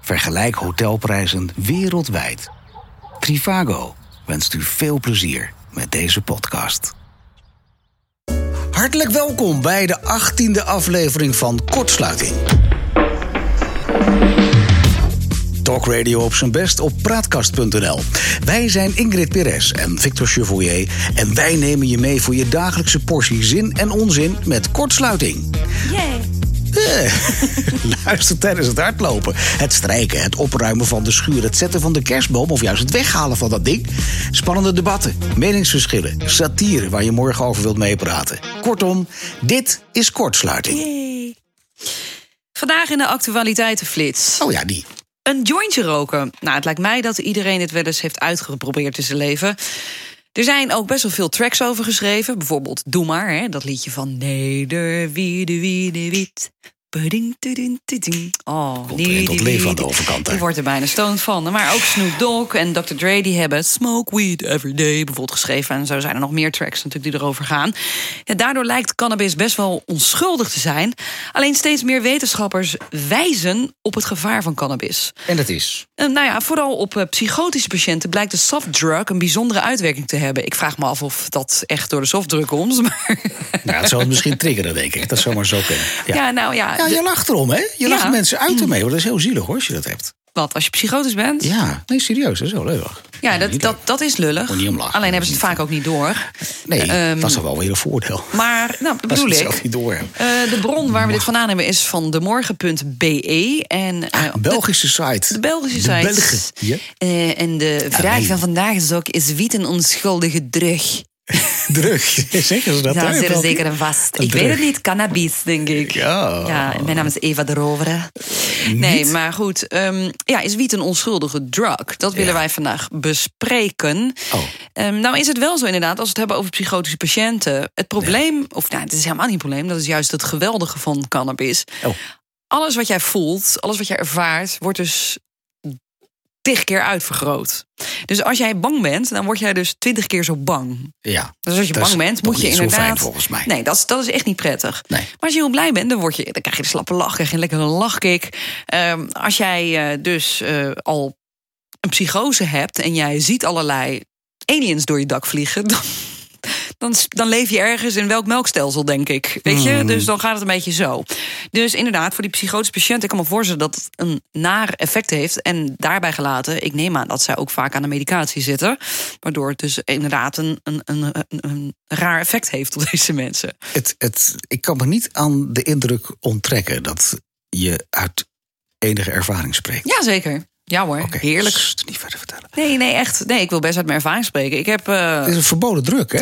Vergelijk hotelprijzen wereldwijd. Trivago wenst u veel plezier met deze podcast. Hartelijk welkom bij de 18e aflevering van Kortsluiting. Talk Radio op zijn best op praatkast.nl. Wij zijn Ingrid Perez en Victor Chevoyer. En wij nemen je mee voor je dagelijkse portie zin en onzin met kortsluiting. Yay. Eh, Luister tijdens het hardlopen, het strijken, het opruimen van de schuur, het zetten van de kerstboom of juist het weghalen van dat ding. Spannende debatten, meningsverschillen, satire waar je morgen over wilt meepraten. Kortom, dit is kortsluiting. Yay. Vandaag in de actualiteitenflits. Oh ja, die. Een jointje roken. Nou, het lijkt mij dat iedereen dit wel eens heeft uitgeprobeerd in zijn leven. Er zijn ook best wel veel tracks over geschreven. Bijvoorbeeld Doe Maar, hè, dat liedje van Nederwiedewiedewiet. Oh, Komt er een tot leven aan de die- overkant, hè? Ik word er bijna stoned van. Maar ook Snoop Dogg en Dr. Dre die hebben Smoke Weed Every Day bijvoorbeeld geschreven. En zo zijn er nog meer tracks natuurlijk die erover gaan. Ja, daardoor lijkt cannabis best wel onschuldig te zijn. Alleen steeds meer wetenschappers wijzen op het gevaar van cannabis. En dat is. Eh, nou ja, vooral op eh, psychotische patiënten blijkt de softdrug een bijzondere uitwerking te hebben. Ik vraag me af of dat echt door de softdrug komt. Maar Nou, het zou het misschien triggeren, denk ik. Dat zou maar zo kunnen. ja. Ja. nou ja. Ja, de- je lacht erom, hè? Je lacht Ja. mensen uit ermee. hoor. Dat is heel zielig, hoor, als je dat hebt. Wat, als je psychotisch bent? Ja, Ja, nee, serieus, dat is wel leuk. dat, niet dat, dat is lullig. Moet niet om lachen. Alleen hebben ze het vaak ook niet door. Nee, Ehm, dat is dan wel weer een voordeel. Maar, nou, dat Als ze bedoel het ik. zelf niet door hebben. Eh, de bron waar we dit vandaan hebben is van demorgen.be. En eh, Een Belgische site. de Belgische Ah, De site. Belgen, ja. Eh, en de vraag nee. van vandaag is ook: is wiet een onschuldige drug? Druk. Zeggen ze dat? Daar hè, zitten België? zeker een vast. Een ik weet drug. het niet, cannabis, denk ik. Ja. Ja, mijn naam is Eva de Rovere. Nee, maar goed. ehm, ja, is wiet een onschuldige drug? Dat willen Ja. wij vandaag bespreken. Oh. Ehm, nou is het wel zo inderdaad, als we het hebben over psychotische patiënten. Het probleem, of nou, het is helemaal niet een probleem. Dat is juist het geweldige van cannabis. Oh. Alles wat jij voelt, alles wat jij ervaart, wordt dus tig keer uitvergroot. Dus als jij bang bent, dan word jij dus twintig keer zo bang. Ja. Dus als je Dat bang is bent, toch moet je niet zo inderdaad. fijn volgens mij. Nee, dat is, dat is echt niet prettig. Nee. Maar als je heel blij bent, dan, word je, dan krijg je de slappe lach, krijg je een lekkere lachkick. Ehm, als jij eh, dus eh, al een psychose hebt en jij ziet allerlei aliens door je dak vliegen, dan, dan, dan leef je ergens in welk melkstelsel, denk ik. Weet je? Dus dan gaat het een beetje zo. Dus inderdaad, voor die psychotische patiënt, ik kan me voorstellen dat het een naar effect heeft. En daarbij gelaten, ik neem aan dat zij ook vaak aan de medicatie zitten. Waardoor het dus inderdaad een, een, een, een, een raar effect heeft op deze mensen. Het, het, ik kan me niet aan de indruk onttrekken dat je uit enige ervaring spreekt. Jazeker. Ja hoor, Oké, heerlijk. sst, niet verder vertellen. Nee, nee, echt. Nee, ik wil best uit mijn ervaring spreken. Ik heb. eh, Het is een verboden druk, hè?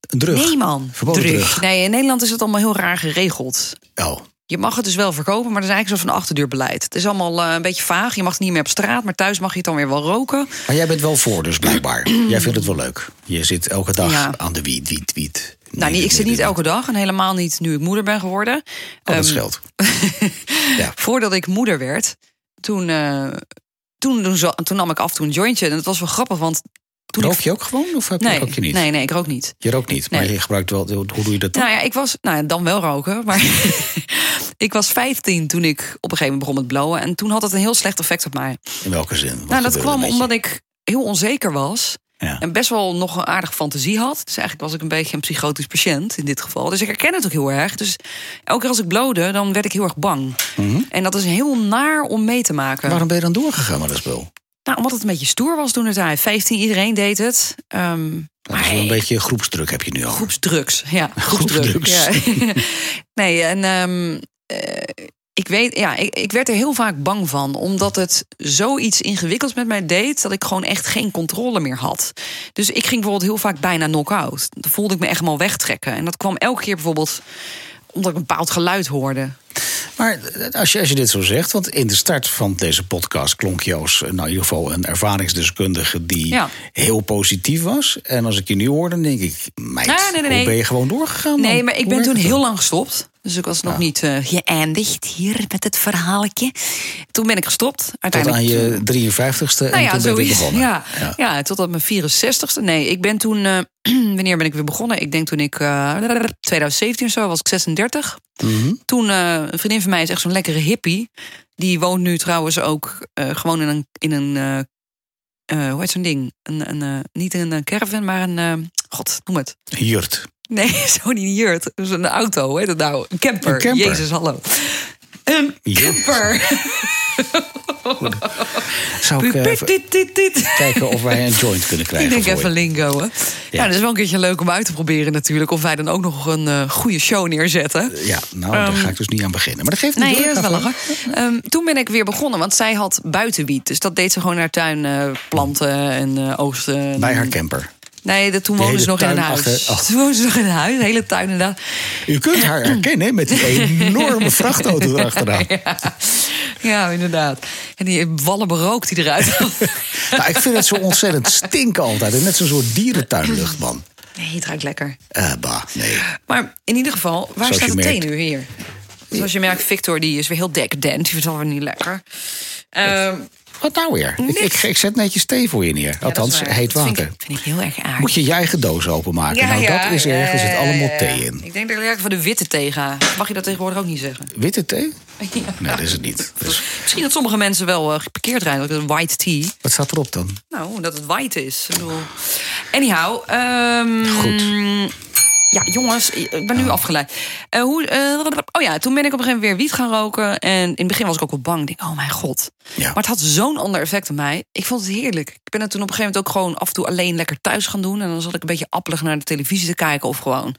Een drug. nee, man. Verboden Drug. drug. Nee, in Nederland is het allemaal heel raar geregeld. Oh, Je mag het dus wel verkopen, maar dat is eigenlijk zo van achterdeurbeleid. Het is allemaal eh, een beetje vaag. Je mag het niet meer op straat, maar thuis mag je het dan weer wel roken. Nou, maar jij bent wel voor, dus blijkbaar. jij vindt het wel leuk. Je zit elke dag Ja. aan de wiet, wiet, wiet. Nou, nee, ik zit niet elke dag en helemaal niet nu ik moeder ben geworden. Oh, Ehm, dat scheelt. ja. Voordat ik moeder werd, toen, eh, toen, toen, za- toen nam ik af en toe een jointje. En dat was wel grappig, want toen Rook ik... je ook gewoon of heb je, Nee, rook je niet? nee, nee, ik rook niet. Je rookt niet, maar Nee. je gebruikt wel... Hoe doe je dat dan? Nou ja, ik was, nou ja, dan wel roken, maar ik was 15 toen ik op een gegeven moment begon met blowen. En toen had het een heel slecht effect op mij. In welke zin? Wat nou, dat gebeurde kwam met je? omdat ik heel onzeker was. Ja. En best wel nog een aardige fantasie had. Dus eigenlijk was ik een beetje een psychotisch patiënt in dit geval. Dus ik herken het ook heel erg. Dus elke keer als ik blode, dan werd ik heel erg bang. En dat is heel naar om mee te maken. Mhm. Waarom ben je dan doorgegaan met dat spul? Nou, omdat het een beetje stoer was toen het tijd. 15, iedereen deed het. Ehm, Dat is wel een maar- beetje groepsdruk heb je nu al. Groepsdrugs, ja. Groepsdruk. Groepsdrugs. Ja. nee, en ehm, eh, ik weet, ja, ik, ik werd er heel vaak bang van, omdat het zoiets ingewikkelds met mij deed dat ik gewoon echt geen controle meer had. Dus ik ging bijvoorbeeld heel vaak bijna knock-out. Dan voelde ik me echt helemaal wegtrekken. En dat kwam elke keer bijvoorbeeld omdat ik een bepaald geluid hoorde. Maar eh, als je, als je dit zo zegt, want in de start van deze podcast klonk je als eh, nou, in ieder geval een ervaringsdeskundige die Ja. heel positief was. En als ik je nu hoor, dan denk ik, meid, Nee, nee, nee, nee. hoe ben je gewoon doorgegaan? man? Nee, maar ik Hoe ben werkt toen het heel dan? lang gestopt. Dus ik was nog niet eh, geëindigd hier met het verhaaltje. toen ben ik gestopt. Tot aan Uiteindelijk je 53ste en nou ja, toen ben je zoiets. begonnen. Ja, ja. totdat mijn 64ste. Nee, ik ben toen. eh, wanneer ben ik weer begonnen? Ik denk toen ik. eh 2017 of zo was ik 36. Mhm. Toen eh, een vriendin van mij is echt zo'n lekkere hippie. Die woont nu trouwens ook eh, gewoon in een. In een eh, eh, hoe heet zo'n ding? Een, een, eh, niet een eh, caravan, maar een. eh, God, noem het. Jurt. Nee, zo niet een jurt. Dus een auto, hoe heet dat nou? Een camper. Een camper. Jezus, hallo. Een Jurt. camper. Zou ik eh, Dit, even dit, dit, dit. kijken of wij een joint kunnen krijgen? Ik denk voor je? even lingo, hè. Ja. dat is wel een keertje leuk om uit te proberen natuurlijk. Of wij dan ook nog een eh, goede show neerzetten. Ja, nou, daar ga ik dus niet aan beginnen. Maar dat geeft niet. Nee, hoor, dat is wel daarvan. lachen. Ehm, toen ben ik weer begonnen, want zij had buitenwiet. Dus dat deed ze gewoon in haar tuin eh, planten en eh, oogsten. Bij haar camper. Nee, dat, toen Die woonden ze hele nog in een tuin huis. achter- oh. Toen woonden ze nog in een huis, de hele tuin inderdaad. U kunt haar herkennen met die enorme vrachtauto erachteraan. Ja, ja inderdaad. En die wallen berookt die eruit. Nou, ik vind het zo ontzettend stinken altijd. Net zo'n soort dierentuinlucht, man. nee, het ruikt lekker. Eh, bah, nee. Maar in ieder geval, waar Zoals staat je de thee merkt. nu hier? Zoals je merkt, Victor die is weer heel decadent. Die vindt het alweer niet lekker. Ehm, Wat nou weer? Ik, ik, ik zet netjes thee voor je neer. ja, dat is Althans, waar. heet Dat vind water. ik- vind ik heel erg aardig. Moet je je eigen doos openmaken. nou, dat is erg. Er zit allemaal thee in. Ik denk dat ik lekker van de witte thee ga. Mag je dat tegenwoordig ook niet zeggen? Witte thee? Nee, dat is het niet. Dus, Misschien dat sommige mensen wel eh, geparkeerd rijden. Dat is white tea. wat staat erop dan? Nou, dat het white is. Ik bedoel... Anyhow. ehm, Goed. Ja, jongens, ik ben nu afgeleid. Eh, hoe, eh, oh ja, toen ben ik op een gegeven moment weer wiet gaan roken. En in het begin was ik ook wel bang. Ik denk, oh mijn god. Ja. Maar het had zo'n ander effect op mij. Ik vond het heerlijk. Ik ben het toen op een gegeven moment ook gewoon af en toe alleen lekker thuis gaan doen. En dan zat ik een beetje appelig naar de televisie te kijken. Of gewoon,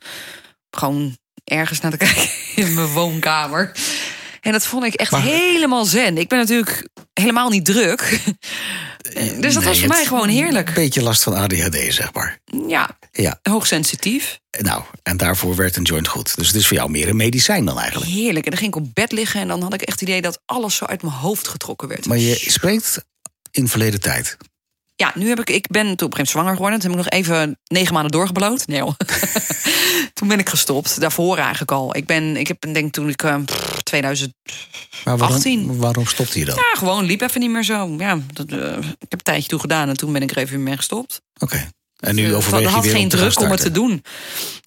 gewoon ergens naar te kijken in mijn woonkamer. En dat vond ik echt Maar- helemaal zen. Ik ben natuurlijk helemaal niet druk. Dus dat Eh, Nee, was voor mij het- gewoon heerlijk. Beetje last van ADHD, zeg maar. Ja, Ja, hoogsensitief. nou, en daarvoor werd een joint goed. Dus het is voor jou meer een medicijn dan eigenlijk. Heerlijk. En dan ging ik op bed liggen en dan had ik echt het idee dat alles zo uit mijn hoofd getrokken werd. Maar je spreekt in verleden tijd. Ja, nu heb ik, ik ben toen op een gegeven moment zwanger geworden. Toen heb ik nog even negen maanden doorgebloot. Nee hoor. toen ben ik gestopt. Daarvoor eigenlijk al. Ik ben, ik heb denk toen ik eh, pff, 2000... Maar waarom, 18. waarom stopte je dan? Ja, gewoon liep even niet meer zo. Ja, dat, eh, ik heb een tijdje toe gedaan en toen ben ik er even mee gestopt. Oké. En nu overweeg dat je had weer geen om te gaan druk om het te starten. doen.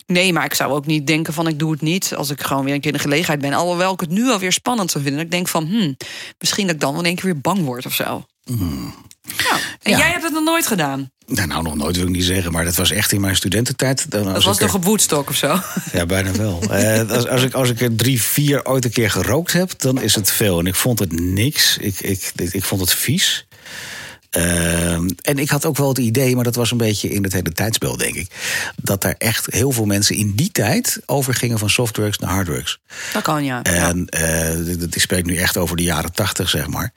Nee, maar ik zou ook niet denken van ik doe het niet als ik gewoon weer een keer in de gelegenheid ben. Alhoewel ik het nu alweer spannend zou vinden. Ik denk van, hmm, misschien dat ik dan wel in één keer weer bang word of zo. Ja. En Hmm. Ja. jij hebt het nog nooit gedaan. Nou, nou, nog nooit wil ik niet zeggen, maar dat was echt in mijn studententijd. Dan Dat als was ik er- toch op Woodstock of zo? Ja, bijna wel. Eh, als, als, ik, als ik er drie, vier ooit een keer gerookt heb, dan is het veel. En ik vond het niks. Ik, ik, ik, ik vond het vies. Ehm, en ik had ook wel het idee, maar dat was een beetje in het hele tijdspel, denk ik. Dat daar echt heel veel mensen in die tijd overgingen van softdrugs naar harddrugs. Dat kan ja. Ja. En eh, dit- dit- ik spreek nu echt over de jaren tachtig, zeg maar.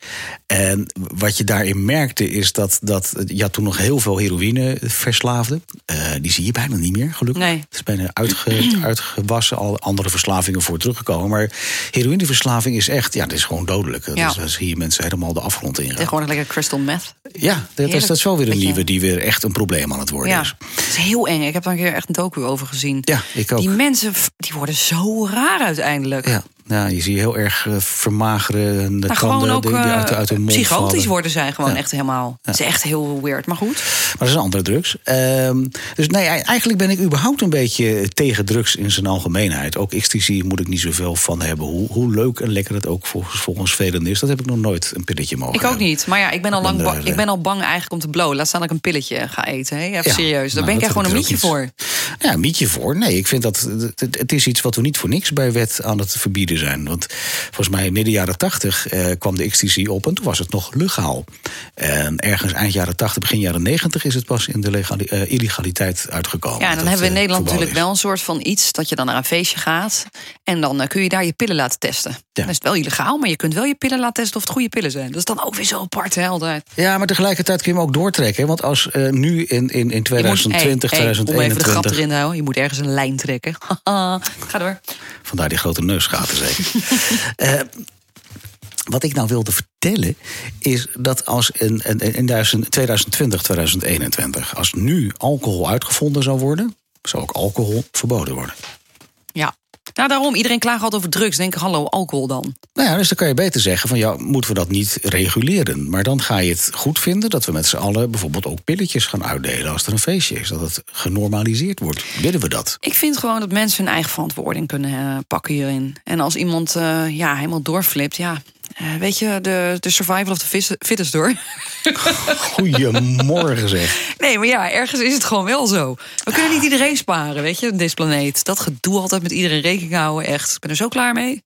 En wat je daarin merkte is dat, dat je had toen nog heel veel heroïne verslaafden. Eh, die zie je bijna niet meer, gelukkig. Nee. Het is bijna uitge, uitgewassen, al andere verslavingen voor teruggekomen. Maar heroïneverslaving is echt, ja, dat is gewoon dodelijk. Dat Ja. is- dan zie je mensen helemaal de afgrond in. Tegenwoordig lekker crystal meth. Ja, dat is, Heerlijk. dat is wel weer een Beetje- nieuwe die weer echt een probleem aan het worden Ja, is. dat is heel eng. Ik heb daar een keer echt een docu over gezien. Ja, ik ook. Die mensen, f- die worden zo raar uiteindelijk. Ja. Nou, je ziet heel erg eh, vermageren. De tanden Maar gewoon ook die, die uit, eh, uit hun mond psychotisch vallen. worden zij gewoon echt helemaal. Het is echt heel weird, maar goed. Maar dat is een andere drugs. Ehm, dus nee, eigenlijk ben ik überhaupt een beetje tegen drugs in zijn algemeenheid. Ook ecstasy moet ik niet zoveel van hebben. Hoe, hoe leuk en lekker het ook volgens, volgens velen is. Dat heb ik nog nooit een pilletje mogen Ik ook hebben. niet. Maar ja, ik ben al, lang ben ba- er, eh, ik ben al bang eigenlijk om te blowen. Laat staan dat ik een pilletje ga eten. Hè? Even Ja, serieus. Daar nou, ben ik dat echt gewoon een heb ik mietje dus ook voor. niet. Ja, een mietje voor. Nee, ik vind dat het- het het is iets wat we niet voor niks bij wet aan het verbieden zijn. Want volgens mij midden jaren tachtig eh, kwam de XTC op en toen was het nog legaal. En ergens eind jaren tachtig, begin jaren negentig is het pas in de legali- eh, illegaliteit uitgekomen. Ja, en dat dan hebben we in het, eh, Nederland natuurlijk verboden is. wel een soort van iets dat je dan naar een feestje gaat. En dan eh, kun je daar je pillen laten testen. Dan is het wel illegaal, maar je kunt wel je pillen laten testen of het goede pillen zijn. Dat is dan ook weer zo apart, hè, altijd. Ja, maar tegelijkertijd kun je hem ook doortrekken. hè? Want als eh, nu in, in, in Je moet- 2020, hey, hey, om even de grap 2021... erin te houden. Je moet ergens een lijn trekken. Ga door. vandaar die grote neusgaten zeker. Eh, wat ik nou wilde vertellen is dat als in, in, in 2000 2020, 2021... als nu alcohol uitgevonden zou worden, zou ook alcohol verboden worden. Ja. Nou, daarom, iedereen klaagt altijd over drugs. Denk, hallo, alcohol dan. Nou ja, dus dan kan je beter zeggen van ja, moeten we dat niet reguleren? Maar dan ga je het goed vinden dat we met z'n allen bijvoorbeeld ook pilletjes gaan uitdelen als er een feestje is. Dat het genormaliseerd wordt. Willen we dat? Ik vind gewoon dat mensen hun eigen verantwoording kunnen eh, pakken hierin. En als iemand eh, ja, helemaal doorflipt, ja. eh, weet je, de, de survival of the fis- fittest door. Goedemorgen zeg. Nee, maar ja, ergens is het gewoon wel zo. We kunnen niet iedereen sparen, weet je, op deze planeet. Dat gedoe altijd met iedereen rekening houden, echt. Ik ben er zo klaar mee.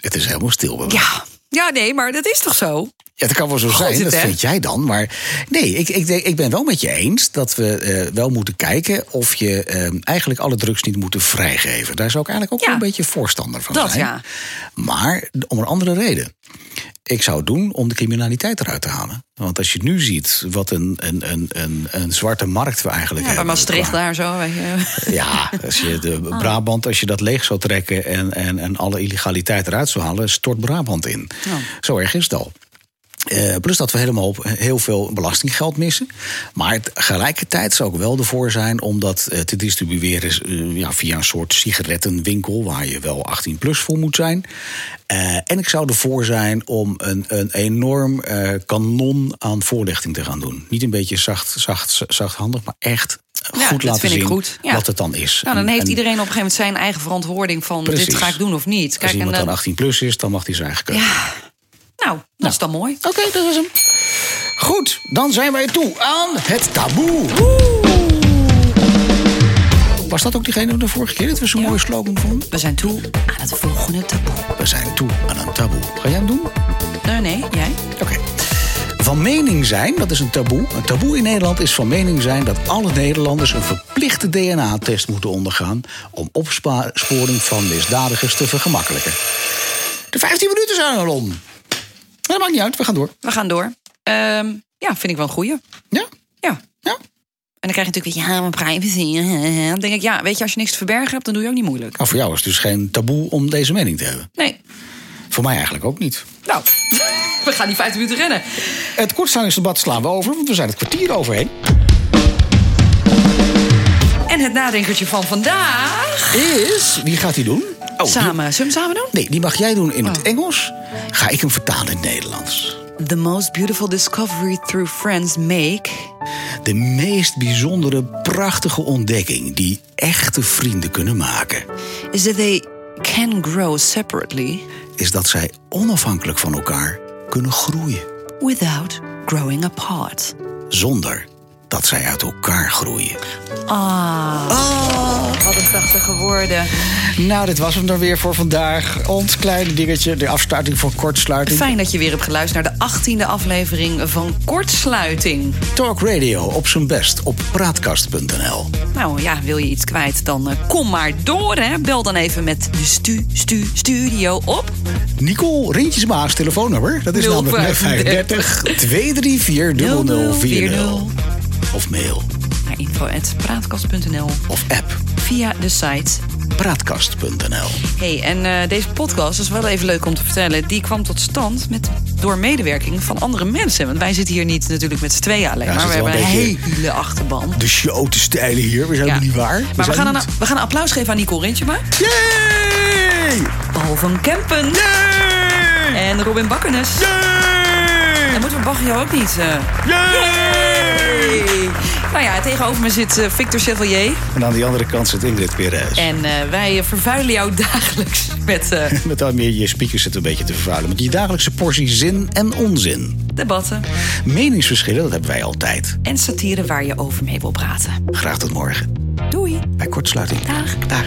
Het is helemaal stil. bij me. Ja, ja nee, maar dat is toch zo? Ja, dat kan wel zo Goed, zijn, het, dat hè? vind jij dan. Maar nee, ik, ik, denk- ik ben wel met je eens dat we eh, wel moeten kijken of je eh, eigenlijk alle drugs niet moeten vrijgeven. Daar zou ik eigenlijk ook wel Ja. een beetje voorstander van Dat zijn. ja. Maar om een andere reden. Ik zou het doen om de criminaliteit eruit te halen. Want als je nu ziet wat een, een, een, een, een zwarte markt we eigenlijk ja bij hebben. Maastricht qua- daar zo. Weet je. Ja, als je de Oh. Brabant, als je dat leeg zou trekken en, en, en alle illegaliteit eruit zou halen, stort Brabant in. Ja. Zo erg is het al. Eh, plus dat we helemaal op heel veel belastinggeld missen. Maar tegelijkertijd zou ik wel ervoor zijn om dat eh, te distribueren eh, ja, via een soort sigarettenwinkel waar je wel 18 plus voor moet zijn. Eh, en ik zou ervoor zijn om een, een enorm eh, kanon aan voorlichting te gaan doen. Niet een beetje zacht, zacht, zachthandig, maar echt Ja, goed dat laten vind ik zien goed. Ja. wat het dan is. Nou, dan En- heeft en iedereen op een gegeven moment zijn eigen verantwoording van dit Precies. ga ik doen of niet. Als en iemand dan dan- 18 plus is, dan mag hij zijn eigen keuze. ja. Nou, dat is dan mooi. Oké, dat was hem. Goed, dan zijn wij toe aan het taboe. Was dat ook diegene van de vorige keer dat we zo'n mooie slogan vonden? We zijn toe aan het volgende taboe. We zijn toe aan een taboe. Ga jij hem doen? Nee, Eh, nee, jij? Oké. Van mening zijn, dat is een taboe. Een taboe in Nederland is van mening zijn dat alle Nederlanders een verplichte DNA-test moeten ondergaan om opsporing van misdadigers te vergemakkelijken. De 15 minuten zijn al om. Maar Dat maakt niet uit, we gaan door. We gaan door. Ehm, ja, vind ik wel een goeie. Ja? Ja. Ja? En dan krijg je natuurlijk weer, ja, mijn privacy. hè. Dan denk ik, ja, weet je, als je niks te verbergen hebt, dan doe je ook niet moeilijk. Nou, voor jou is het dus geen taboe om deze mening te hebben. Nee. Voor mij eigenlijk ook niet. Nou, we gaan die vijf minuten rennen. Het kortsluitingsdebat slaan we over, want we zijn het kwartier overheen. En het nadenkertje van vandaag. Is, wie gaat die doen? Oh, die- samen. Zullen we hem samen doen? nee, die mag jij doen in het Engels. Ga ik hem vertalen in het Nederlands. The most beautiful discovery through friends make. De meest bijzondere, prachtige ontdekking die echte vrienden kunnen maken, Is that they can grow separately is dat zij onafhankelijk van elkaar kunnen groeien. without growing apart. Zonder dat zij uit elkaar groeien. Ah. Wat een prachtige woorden. Nou, dit was hem dan weer voor vandaag. Ons kleine dingetje, de afsluiting van kortsluiting. Fijn dat je weer hebt geluisterd naar de achttiende aflevering van Kortsluiting. Talk Radio op zijn best op praatkast.nl. Nou ja, wil je iets kwijt, dan eh, kom maar door. Hè. Bel dan even met de stu, stu, studio op. Nicole Rintjesmaas telefoonnummer, dat is 035 namelijk 35 234 0040. Of mail, Naar info.praatkast.nl of app, via de site. praatkast.nl. hey, en eh, deze podcast is wel even leuk om te vertellen. Die kwam tot stand met, door medewerking van andere mensen. Want wij zitten hier niet natuurlijk met z'n tweeën alleen. Ja, maar we zit wel hebben een een beetje- hele achterban. de show te stijlen hier. We zijn Ja. er niet waar. Maar we zijn gaan, een, niet- we gaan een applaus geven aan Nicole Rintjema. Yay! Paul van Kempen. Yay! En Robin Bakkernes. Eh. En moeten we Baggio ook niet... eh, Yay! Hey. Nou ja, tegenover me zit eh, Victor Chevalier. En aan die andere kant zit Ingrid Perez. En eh, wij eh, vervuilen jou dagelijks met eh, Met al meer je speakers zit een beetje te vervuilen. Met je dagelijkse portie zin en onzin. debatten Meningsverschillen, dat hebben wij altijd. en satire waar je over mee wil praten. Graag tot morgen. Doei. Bij kortsluiting. Dag. Dag.